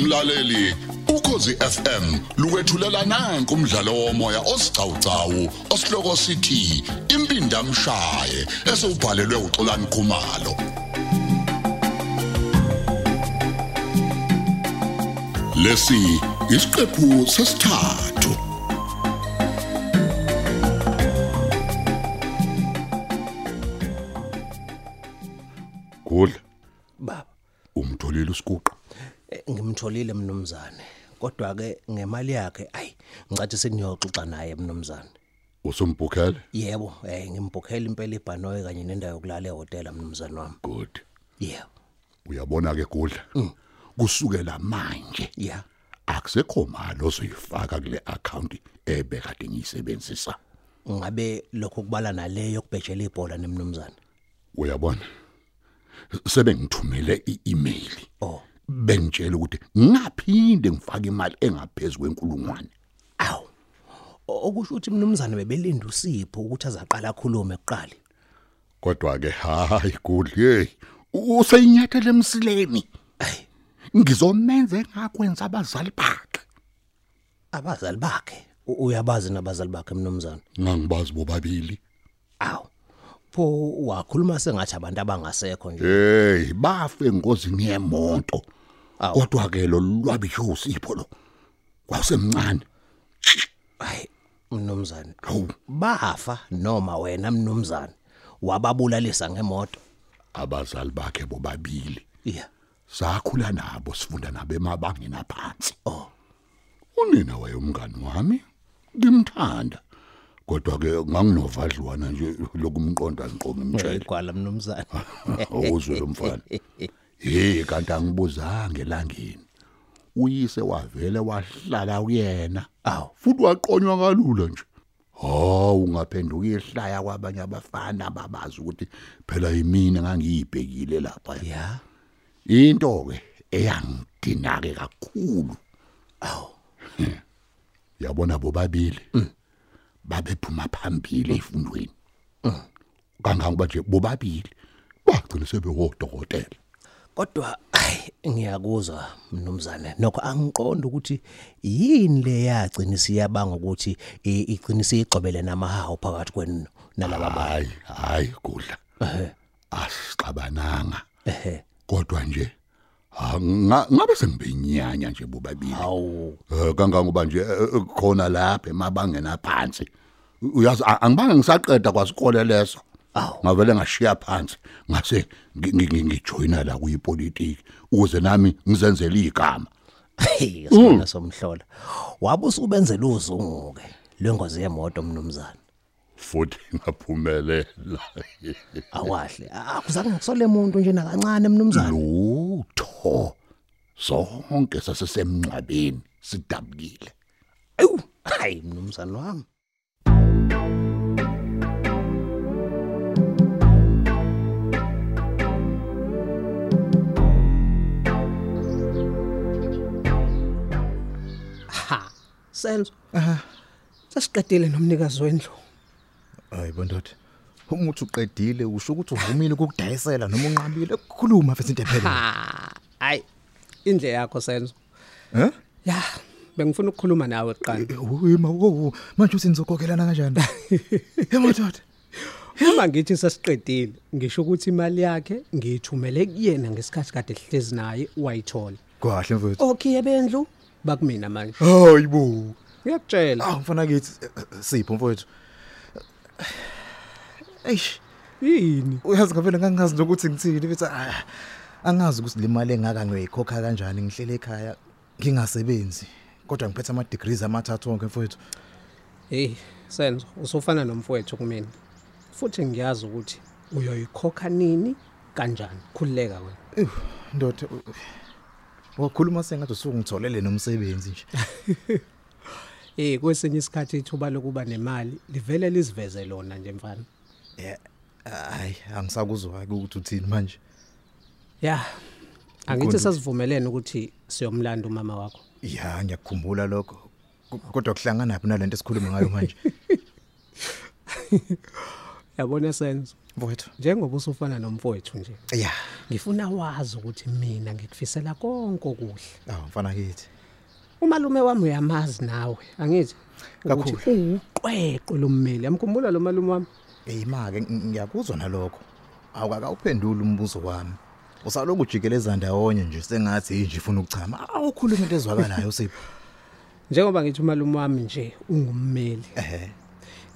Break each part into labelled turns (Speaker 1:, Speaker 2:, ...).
Speaker 1: mlaleli ukhosi FM lukwethulela nanku umdlalo womoya osiqhawqhawo osihloko sithi impindi amshaye esubhalelwe uXolani Khumalo lesi isiqephu sesithathu
Speaker 2: Gudla,
Speaker 3: baba
Speaker 2: umtholile usiguqa.
Speaker 3: eh, ngimtholile mnumzane kodwa ke ngemali yakhe ayi ngicathi sengiyoxoxa naye mnumzane
Speaker 2: Usumbukhele?
Speaker 3: yebo eh ngimbhokhela impela ibhanoyi kanye nendawo yokulala ehotela mnumzane wami
Speaker 2: Good.
Speaker 3: yebo
Speaker 2: Uyabona ke Gudla. Kusukela manje
Speaker 3: yeah
Speaker 2: akusekho imali ozoyifaka kule account ebekade ngiyisebenzisa.
Speaker 3: ngabe lokho kubala naleyo yokubhejela ibhola nemnumzane
Speaker 2: Uyabona? Sebengithumele i-email.
Speaker 3: oh
Speaker 2: Bengitshela ukuthi ngaphinde ngifake imali engaphezulu kwenkulungwane.
Speaker 3: aw okusho ukuthi mnumzane bebelinda usipho ukuthi azaqala khulume kuqali
Speaker 2: Kodwa ke hayi Gudla, hey, useyinyathele emsileni.
Speaker 3: ayi
Speaker 2: Ngizomenza engakwenza abazali bakhe.
Speaker 3: abazali bakhe u- uyabazi nabazali bakhe mnumzane
Speaker 2: Ngangibazi bobabili.
Speaker 3: aw pho wakhuluma sengathi abantu abangasekho nje
Speaker 2: Hey, bafe ngozini yemonto.
Speaker 3: Awu.
Speaker 2: Kodwa ke lo lwabisho usipho lo. Kwasemncane.
Speaker 3: hayi mnumzane
Speaker 2: Hawu,
Speaker 3: bafa noma wena mnumzane wababulalisa ngemoto
Speaker 2: abazali bakhe bobabili.
Speaker 3: yeah
Speaker 2: Sakhula nabo sifunda nabo emabangeni aphansi.
Speaker 3: oh
Speaker 2: Unina wayomngani wami. Ngimthanda. Kodwa ke nganginovadlwana nje lokumqonda nqongo imtshela.
Speaker 3: igwala mnumzane
Speaker 2: Awuzwe lo mfana. Hey kanti angibuzange langeni. Uyise wavele wahlala kuyena.
Speaker 3: Aw.
Speaker 2: futhi waqonywa kalula nje. Hawu ungaphenduka ihlaya kwabanye abafana ababazi ukuthi phela yimina ngangiyibhekile lapha.
Speaker 3: yeah
Speaker 2: Into ke eyangidinake kakhulu.
Speaker 3: aw
Speaker 2: Yabona bobabili. Babephuma phambili efundweni. Kangangoba nje bobabili bagcina sebewodokotela.
Speaker 3: kodwa ayi ngiyakuzwa mnumzane nokho angiqondi ukuthi yini le yagcina siyabanga ukuthi i- igcina siyigxobele namahawu phakathi kwenu nalaba bantu
Speaker 2: hayi hayi kudla
Speaker 3: Ehhe.
Speaker 2: asixabananga
Speaker 3: ehe
Speaker 2: kodwa nje ah, nga- ngabe sengibenyanya nje bobabili
Speaker 3: awu
Speaker 2: Eh, kangangoba nje eh, eh, khona lapha emabangeni aphansi U- uyazi a- angibange ngisaqeda kwasikole leso
Speaker 3: Awu.
Speaker 2: ngavele ngashiya phansi ngase ngi- ngi- ngi- ngijoyina la kuyipolitiki ukuze nami ngizenzele igama
Speaker 3: hey sona somhlola wabusa ubenzela uzunguke lwengozi yemoto mnumzane
Speaker 2: futhi ngaphumelela
Speaker 3: awahle akuzange ngisole umuntu nje nakancane mnumzane
Speaker 2: lutho sonke sasesemncwabeni sidabukile
Speaker 3: ayu hayi mnumzane wami ha senzo
Speaker 4: sasiqedile nomnikazi wendlu
Speaker 5: hayi bandoda umuthi uqedile usho ukuthi uvumile ukukudayisela noma unqabile ukukhuluma futhi into ephelele
Speaker 4: ha hayi indle yakho senzo
Speaker 5: eh
Speaker 4: ya bengifuna ukukhuluma nawe kuqala
Speaker 5: uyima wo manje uthi nizokokelana kanjani emadoda
Speaker 4: uma ngithi sesiqedile ngisho ukuthi imali yakhe ngiyithumele kuyena ngesikhathi kade sihlezi naye wayithola
Speaker 5: kahle mfowethu
Speaker 4: okhiye bendlu bakumina manje
Speaker 5: hayibo
Speaker 4: ngiyakutshela
Speaker 5: aw mfana kithi eh, eh, sipho mfowethu eish
Speaker 4: yini
Speaker 5: uyazi ngavele ngangazi nokuthi ngithini futhi ah, angazi ukuthi le mali engaka ngiyoyikhokha kanjani ngihlele ekhaya ngingasebenzi kodwa ngiphethe ama degrees amathathu onke mfowethu
Speaker 4: hey senzo usufana nomfowethu kumina futhi ngiyazi ukuthi uyoyikhokha nini kanjani khululeka wena
Speaker 5: Ewu, ndoda u- wakhuluma sengathi usungitholele nomsebenzi nje
Speaker 4: Eh kwesinye isikhathi ithuba lokuba nemali livele lisiveze lona nje mfana.
Speaker 5: Eh, hayi angisakuzwa ke ukuthi uthini manje
Speaker 4: Yeah. Angithi
Speaker 5: Nkonzo.
Speaker 4: sasivumelene ukuthi siyomlanda umama wakho.
Speaker 5: ya ngiyakukhumbula lokho Ko- kodwa kuhlangana phi nalento esikhuluma ngayo manje
Speaker 4: yabona senzo
Speaker 5: mfowethu
Speaker 4: njengoba usufana nomfowethu nje
Speaker 5: ya
Speaker 4: ngifuna wazi ukuthi mina ngikufisela konke okuhle
Speaker 5: awu mfana kithi
Speaker 4: umalume wami uyamazi nawe angithi ukuthi uqweqwe lommeli yamkhumbula lo malume wami
Speaker 5: eyima-ke ng- ngiyakuzwa nalokho awukakawuphenduli umbuzo wami usaloku ujikeleza ndawonye nje sengathi yinje ifuna ukuchama awukhuluma into ezwakalayo sipho
Speaker 4: njengoba ngithi umalume wami nje ungummeli
Speaker 5: ehe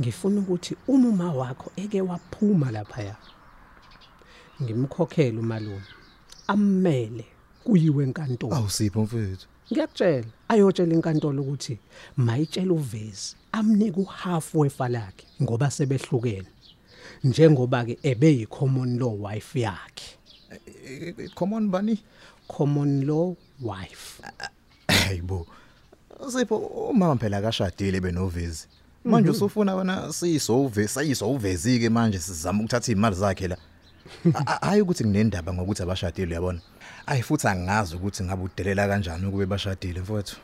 Speaker 4: ngifuna ukuthi uma uma wakho eke waphuma lapha ngimkhokhele umalume amele kuyiwe enkantolo
Speaker 5: awusipho mfowethu
Speaker 4: ngiyakutshela ayotshela inkantolo ukuthi mayitshela uvezi amnike uhalf wefa lakhe ngoba sebehlukene njengoba ke ebeyi common law wife yakhe
Speaker 5: Eh, eh, come on bani
Speaker 4: common law wife
Speaker 5: hayibo sipho umama phela akashadile benovezi manje usufuna wena siyisovezi sayisovezi ke manje sizama ukuthatha izimali zakhe la A- a- hayi ukuthi kunendaba ngokuthi abashadile uyabona ayi futhi angazi ukuthi ngabe udelela kanjani ukube bashadile mfowethu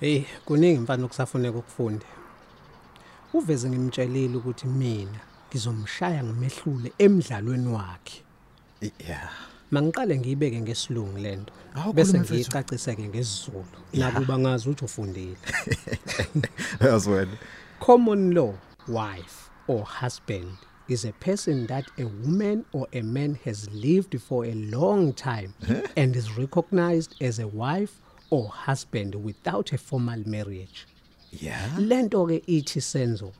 Speaker 4: hey kuningi mfana okusafuneka ukufunde uvezi ngimtshelile ukuthi mina ngizomshaya ngimehlule emidlalweni wakhe
Speaker 5: I- yeah
Speaker 4: mangiqale ngiyibeke ngesilungu lento
Speaker 5: Hawu,
Speaker 4: bese
Speaker 5: khuluma mfethu.
Speaker 4: ngiyicaciseke ngesizulu nakuba ngazi ukuthi ufundile
Speaker 5: as well
Speaker 4: Common law wife or husband is a person that a woman or a man has lived for a long time and is recognized as a wife or husband without a formal marriage.
Speaker 5: yeah
Speaker 4: Lento ke ithi senzo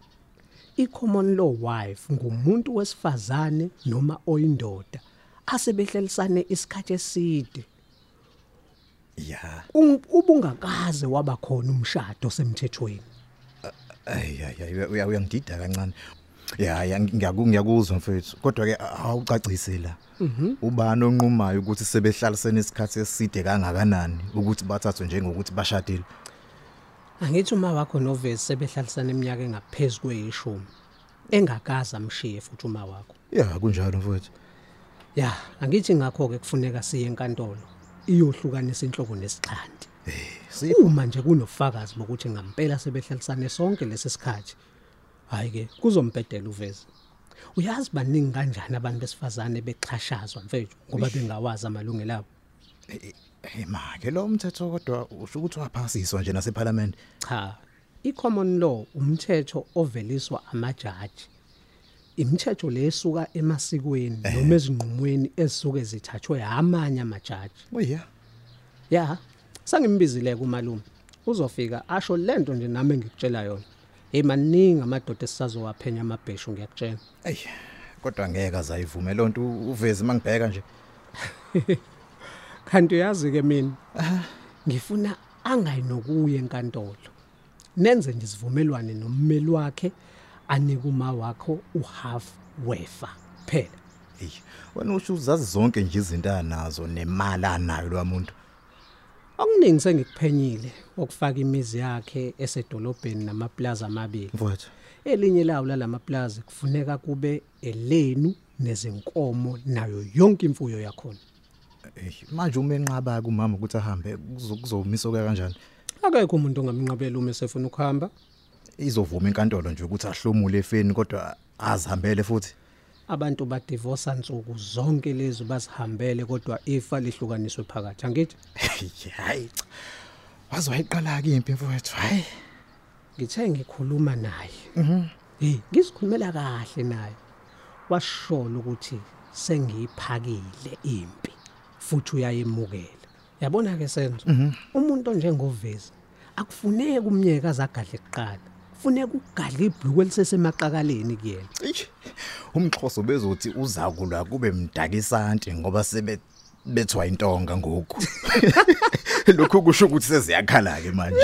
Speaker 4: i-common law wife ngumuntu wesifazane noma oyindoda asebehlalisane isikhathi eside
Speaker 5: yeah
Speaker 4: Um- ubungakaze waba khona umshado semthethweni
Speaker 5: ayiyayi uyangidida kancane ya ya, ngiyaku- ngiyakuzwa mfethu kodwa ke awucacisi la ubani onqumayo ukuthi sebehlalisene isikhathi eside kangakanani ukuthi bathathwe njengokuthi bashadile
Speaker 4: Angithi uma wakho novesi sebehlalisana eminyaka engaphezulu kweyishumi engakaza amshiye futhi uma wakho.
Speaker 5: ya kunjalo mfethu
Speaker 4: Ya, angithi ngakho ke kufuneka siye enkantolo iyohlukanisa inhloko nesixhanti.
Speaker 5: sipho
Speaker 4: Uma nje kunofakazi bokuthi ngampela sebehlalisane sonke lesisikhathi. Hayi ke kuzombhedela uvezi. Uyazi baningi kanjani abantu besifazane bexhashazwa mfethu ngoba bengawazi amalungelo abo.
Speaker 5: emake lo mthetho kodwa usho ukuthi waphasiswa nje naseparlamente
Speaker 4: cha i-common law umthetho oveliswa amajaji imithetho lesuka emasikweni noma ezinqumweni ezisuke zithathwe amanye amajaji
Speaker 5: oya
Speaker 4: ya sangimbizile kumalume uzofika asho lento nje nami engikutshela yona hey maningi amadoda esisazowaphenya amabheshu ngiyakutshela
Speaker 5: ey kodwa ngeke azayivume loo nto uvezi mangibheka nje
Speaker 4: kanti uyazi ke mina ngifuna angayinokuya enkantolo nenze nje isivumelwane nommeli wakhe anike uma wakho uhalf wefa phela
Speaker 5: ey wena usho uzazi zonke nje izinto anazo nemali anayo lo muntu
Speaker 4: okuningi sengikuphenyile okufaka imizi yakhe esedolobheni namaplaza amabili
Speaker 5: mfowethu
Speaker 4: elinye lawo lalamaplaza kufuneka kube elenu nezinkomo nayo yonke imfuyo yakhona
Speaker 5: Eish, manje uma enqaba ke umama ukuthi ahambe kuzo- kuzomisoka kanjani
Speaker 4: akekho umuntu ongamnqabela uma esefuna ukuhamba
Speaker 5: izovuma inkantolo nje ukuthi ahlomule efeni kodwa azihambele futhi
Speaker 4: abantu badivosa nsuku zonke lezi bazihambele kodwa ifa lihlukaniswe phakathi angithi
Speaker 5: hayi cha waze wayiqala ke impi mfowethu hayi
Speaker 4: ngithe ngikhuluma naye hey ngizikhulumela kahle naye washola ukuthi sengiyiphakile impi futhi uyayemukela yabona ke senzo umuntu onjengovezi akufuneki umnyeka azagadle kuqala kufuneka ugadle ibhuku elisesemaqakaleni kuyena
Speaker 5: Eish, umxhoso bezothi uzakulwa kube mdakisanti ngoba sebe bethwa intonga ngoku lokhu kusho ukuthi seziyakhala ke manje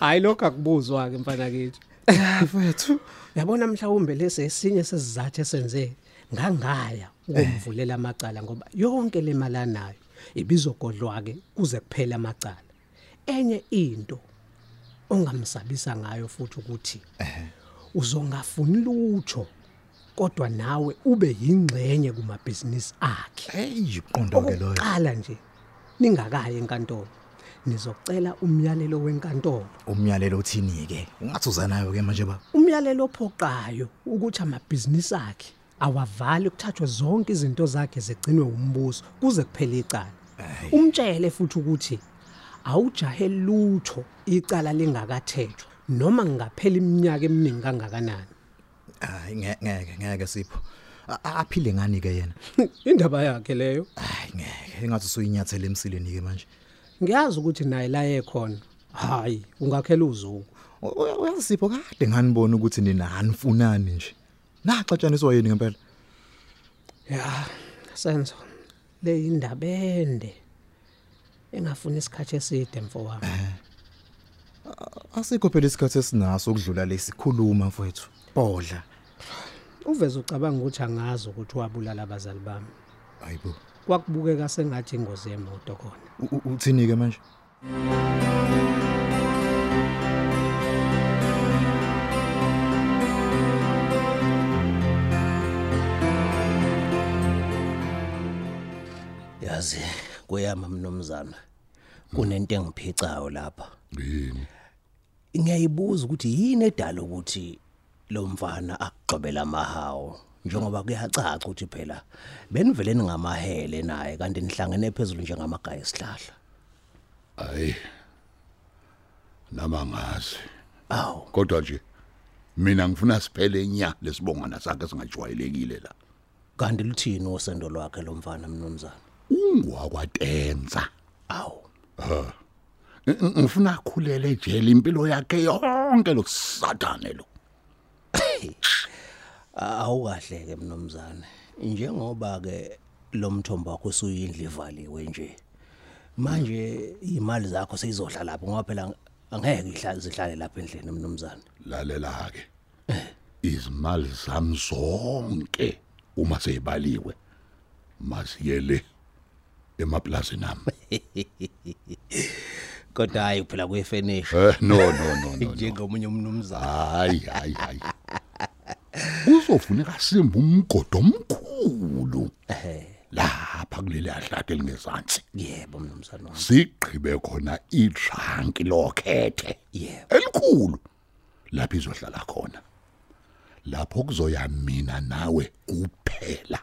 Speaker 4: hayi lokho akubuzwa ke mfana kithi
Speaker 5: mfowethu
Speaker 4: Yabona mhlawumbe lesi esinye sesizathu esenze ngangaya ukumvulela amacala ngoba yonke le mali anayo ibizogodlwa ke kuze kuphele amacala. Enye into ongamsabisa ngayo futhi ukuthi uzongafuni lutho kodwa nawe ube yingxenye kumabhizinisi akhe.
Speaker 5: hey iqondo ke loyo
Speaker 4: Oqala nje ningakayi enkantolo. nizocela umyalelo wenkantolo
Speaker 5: umyalelo uthini ke ungathuzanayo ke manje baba
Speaker 4: umyalelo ophoqayo ukuthi amabhizinisi akhe awavali kuthathwe zonke izinto zakhe zigcinwe umbuso kuze kuphele icala umtshele futhi ukuthi awujahe lutho icala lingakathethwa noma ngingaphela iminyaka eminingi kangakanani
Speaker 5: hayi nge- ngeke ngeke sipho A- a- aphile ngani ke yena
Speaker 4: indaba yakhe leyo
Speaker 5: hayi ngeke engathi usuyinyathela emsileni ke manje
Speaker 4: ngiyazi ukuthi naye la ekhona hayi ungakhela uzungu
Speaker 5: U- uya- uyazi sipho kade nganibona ukuthi nina nifunani nje naxatshaniswa yini ngempela
Speaker 4: ya senzo le indaba ende engafuni isikhathi eside mfowami
Speaker 5: asikho phela isikhathi esinaso ukudlula lesikhuluma mfowethu bodla
Speaker 4: uveze ucabanga ukuthi angazi ukuthi wabulala abazali bami
Speaker 5: hayibo
Speaker 4: kwakubukeka sengathi ingozi yemoto khona
Speaker 5: U- u- uthini ke manje
Speaker 3: yazi kuyama mnumzana kunento engiphicayo lapha
Speaker 2: yini
Speaker 3: ngiyayibuza ukuthi yini edala ukuthi lo mfana akugqobela amahawo njengoba kuyacaca ukuthi phela benivele ningamahele naye kanti nihlangene phezulu njengamagaya esihlahla
Speaker 2: hayi namangazi
Speaker 3: awu
Speaker 2: kodwa nje mina ngifuna siphele nya lesibongana sakhe singajwayelekile la
Speaker 3: kanti luthini usendo lwakhe lo mfana mnumzana
Speaker 2: ungwakwatenza
Speaker 3: awu
Speaker 2: Ng- ng- ngifuna akhulele ejele impilo yakhe yonke lo satane lo
Speaker 3: awukahle ke mnumzane njengoba ke lo mthombo wakho usuyindli ivaliwe nje manje imali zakho seyizodla lapho ngoba phela angeke ihlale zihlale lapha endlini mnumzane
Speaker 2: lalela ke izimali zami zonke uma seyibaliwe masiyele emaplazini nami
Speaker 3: kodwa hayi phela kuyefinish
Speaker 2: eh no no no no, no.
Speaker 3: njengomunye umnumzane
Speaker 2: hayi hayi hayi kuzofuneka simba umgodo omkhulu lapha kuleli ahlaka elingezansi
Speaker 3: yebo mnumzane wami
Speaker 2: sigqibe khona idranki lokhethe
Speaker 3: Yebo.
Speaker 2: elikhulu lapho izohlala khona lapho kuzoya mina nawe kuphela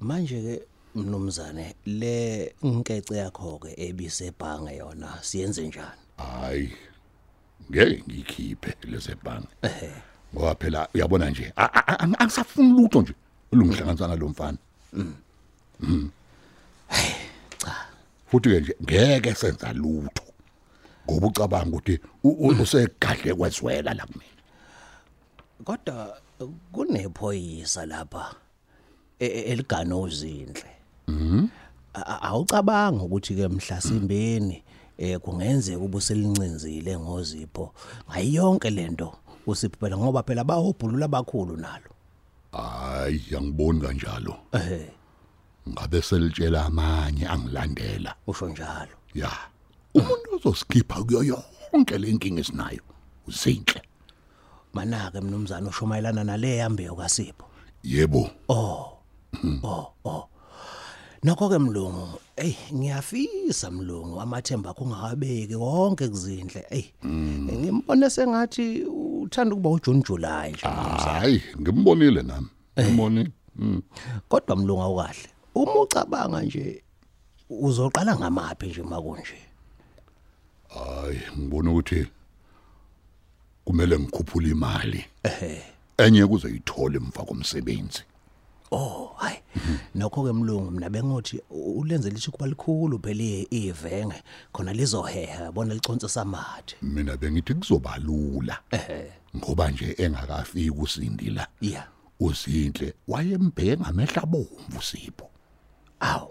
Speaker 3: manje ke mnumzane le inkece yakho ke ebisebhange yona siyenze njani
Speaker 2: hayi ngeke ngikhiphe leze bhange ngoba phela uyabona nje a- a- a- angisafuni lutho nje olungihlanganisa nalo mfana futhi ke nje ngeke senza lutho ngoba ucabanga ukuthi u- u- usegadle kwezwela la kumina
Speaker 3: kodwa kunephoyisa lapha e- e- eligano uzinhle A- a- awucabanga ukuthi ke mhlasimbeni eh kungenzeka ubuselincinzile ngozipho ngayonke lento usiphela ngoba phela bahobhulula abakhulu nalo
Speaker 2: hayi angiboni kanjalo
Speaker 3: eh
Speaker 2: ngabe selitshela amanye angilandela
Speaker 3: usho njalo
Speaker 2: ya umuntu ozosikhipha kuyo yonke le nkinga esinayo uzinhle
Speaker 3: manake mnumzane ushumayelana nale yambeyo kasipho
Speaker 2: yebo
Speaker 3: Oh, nokho ke mlungu hey ngiyafisa mlungu amathemba akho ungawabeki konke kuzinhle hey ngimbone sengathi uthanda ukuba uJune July
Speaker 2: Ah.
Speaker 3: nje
Speaker 2: hayi ngimbonile nami ngimbonile
Speaker 3: kodwa mlungu awukahle uma ucabanga nje uzoqala ngamapi nje makunje
Speaker 2: hayi ngibona ukuthi kumele ngikhuphule imali
Speaker 3: Eh.
Speaker 2: enye kuzoyithola emva komsebenzi
Speaker 3: oh hayi nokho ke mlungu mina bengothi u- ulenze lithi kuba likhulu phela i- ivenge khona lizoheha bona liconse samathe
Speaker 2: mina bengithi kuzobalula ngoba nje engakafiki usindi la
Speaker 3: yeah
Speaker 2: uzinhle wayembheke ngamehla bomvu sipho
Speaker 3: aw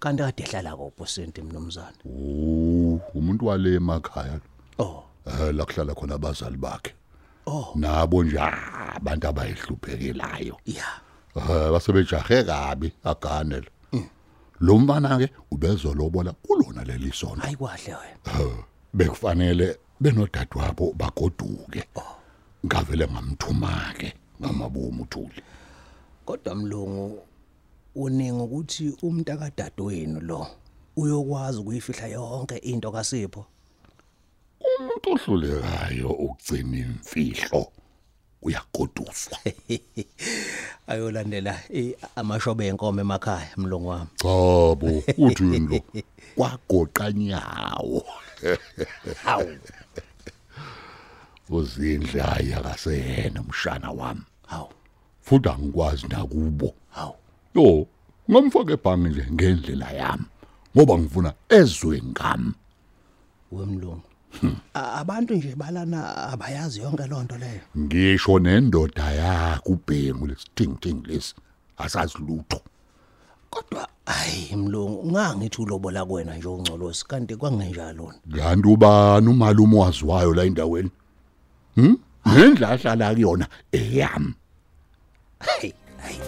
Speaker 3: kanti kade ehlala kupho senti mnumzane
Speaker 2: Oh, umuntu wale emakhaya
Speaker 3: oh
Speaker 2: eh la kuhlala khona abazali bakhe. Oh. Nabo nje ah, abantu abayihluphekelayo.
Speaker 3: yeah
Speaker 2: Eh basebejahe kabi agane. Lo mfana ke ubezolobola kulona leli sonto.
Speaker 3: hayi kwahle wena
Speaker 2: Eh, Bekufanele benodadwabo bagoduke. Ngavele ngamthuma ke ngamabomu uthuli.
Speaker 3: kodwa mlungu uningi ukuthi umntakadadewenu lo uyokwazi ukuyifihla yonke into kaSipho
Speaker 2: umuntu ohlulekayo ukugcina imfihlo uyagoduswa
Speaker 3: ayolandela eh, amashobe enkomo emakhaya mlungu wami
Speaker 2: cabo uthini lo kwagoqa nyawo hawu uzindle hayi akaseyena umshana wami
Speaker 3: hawu
Speaker 2: futhi angikwazi nakubo
Speaker 3: hawu
Speaker 2: yo ngamfaka ebhangi nje ngendlela yami ngoba ngivuna ezwe ngami
Speaker 3: wemlungu A- abantu nje balana abayazi yonke loo nto leyo
Speaker 2: ngisho nendoda yakhe ubhengu lesithingithingi lesi asazilutho
Speaker 3: kodwa hayi mlungu ngangithi ulobola kwena nje ungcolosi kanti kwangenjalo
Speaker 2: kanti ubani umalume owaziwayo la endaweni hm nendla ahlala kuyona eyami
Speaker 3: hayi hayi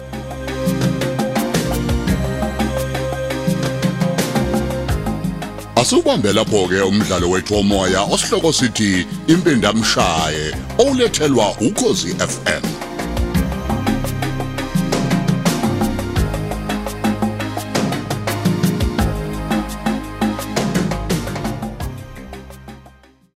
Speaker 6: Asubambe lapho ke umdlalo wethu omoya osihloko sithi impindamshaye olethelwa ukozi FM.